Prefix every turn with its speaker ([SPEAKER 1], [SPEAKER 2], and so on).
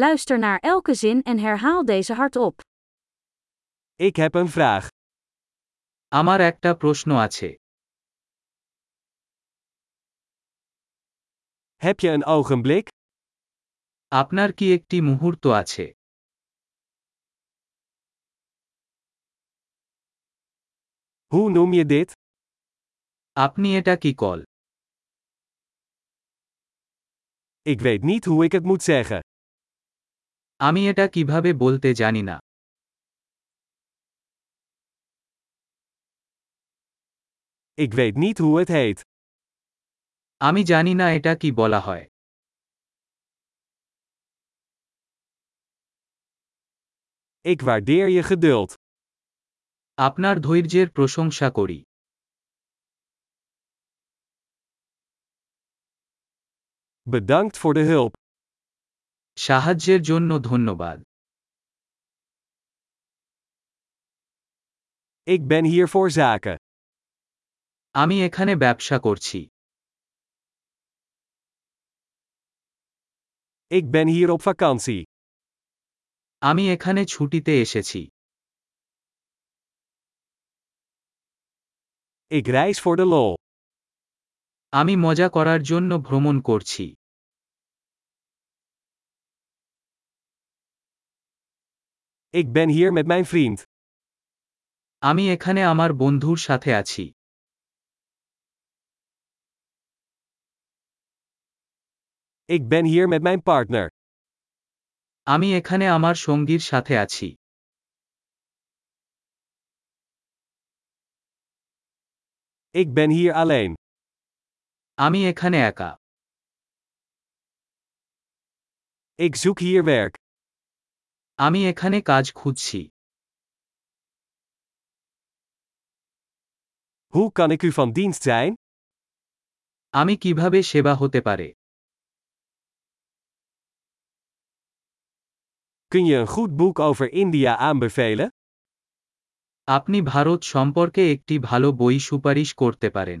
[SPEAKER 1] Luister naar elke zin en herhaal deze hardop.
[SPEAKER 2] Ik heb een vraag.
[SPEAKER 3] আমার একটা প্রশ্ন আছে
[SPEAKER 2] Heb je een ogenblik?
[SPEAKER 3] আপনার কি একটি মুহূর্ত আছে
[SPEAKER 2] Hoe noem je dit?
[SPEAKER 3] আপনি এটা কি call
[SPEAKER 2] Ik weet niet hoe ik het moet zeggen.
[SPEAKER 3] আমি এটা কিভাবে বলতে জানি না
[SPEAKER 2] Ik weet niet hoe het heet.
[SPEAKER 3] আমি জানি না এটা কি বলা হয়
[SPEAKER 2] Ik waardeer je geduld.
[SPEAKER 3] আপনার ধৈর্যের প্রশংসা করি
[SPEAKER 2] Bedankt voor de hulp.
[SPEAKER 3] সাহায্যের জন্য ধন্যবাদ
[SPEAKER 2] Ik ben hier voor zaken.
[SPEAKER 3] আমি এখানে ব্যবসা করছি
[SPEAKER 2] Ik ben hier op vakantie.
[SPEAKER 3] আমি এখানে ছুটিতে এসেছি
[SPEAKER 2] Ik reis voor de lol.
[SPEAKER 3] আমি মজা করার জন্য ভ্রমণ করছি
[SPEAKER 2] Ik ben hier met mijn vriend.
[SPEAKER 3] আমি এখানে আমার বন্ধুর সাথে আছি
[SPEAKER 2] Ik ben hier met mijn partner.
[SPEAKER 3] আমি এখানে আমার সঙ্গীর সাথে আছি
[SPEAKER 2] Ik ben hier alleen.
[SPEAKER 3] আমি এখানে একা
[SPEAKER 2] Ik zoek hier werk.
[SPEAKER 3] আমি এখানে কাজ খুঁজছি
[SPEAKER 2] Hoe kan ik u van dienst zijn?
[SPEAKER 3] আমি কিভাবে সেবা হতে পারে
[SPEAKER 2] Kun je een goed boek over India aanbevelen?
[SPEAKER 3] আপনি ভারত সম্পর্কে একটি ভালো বই সুপারিশ করতে পারেন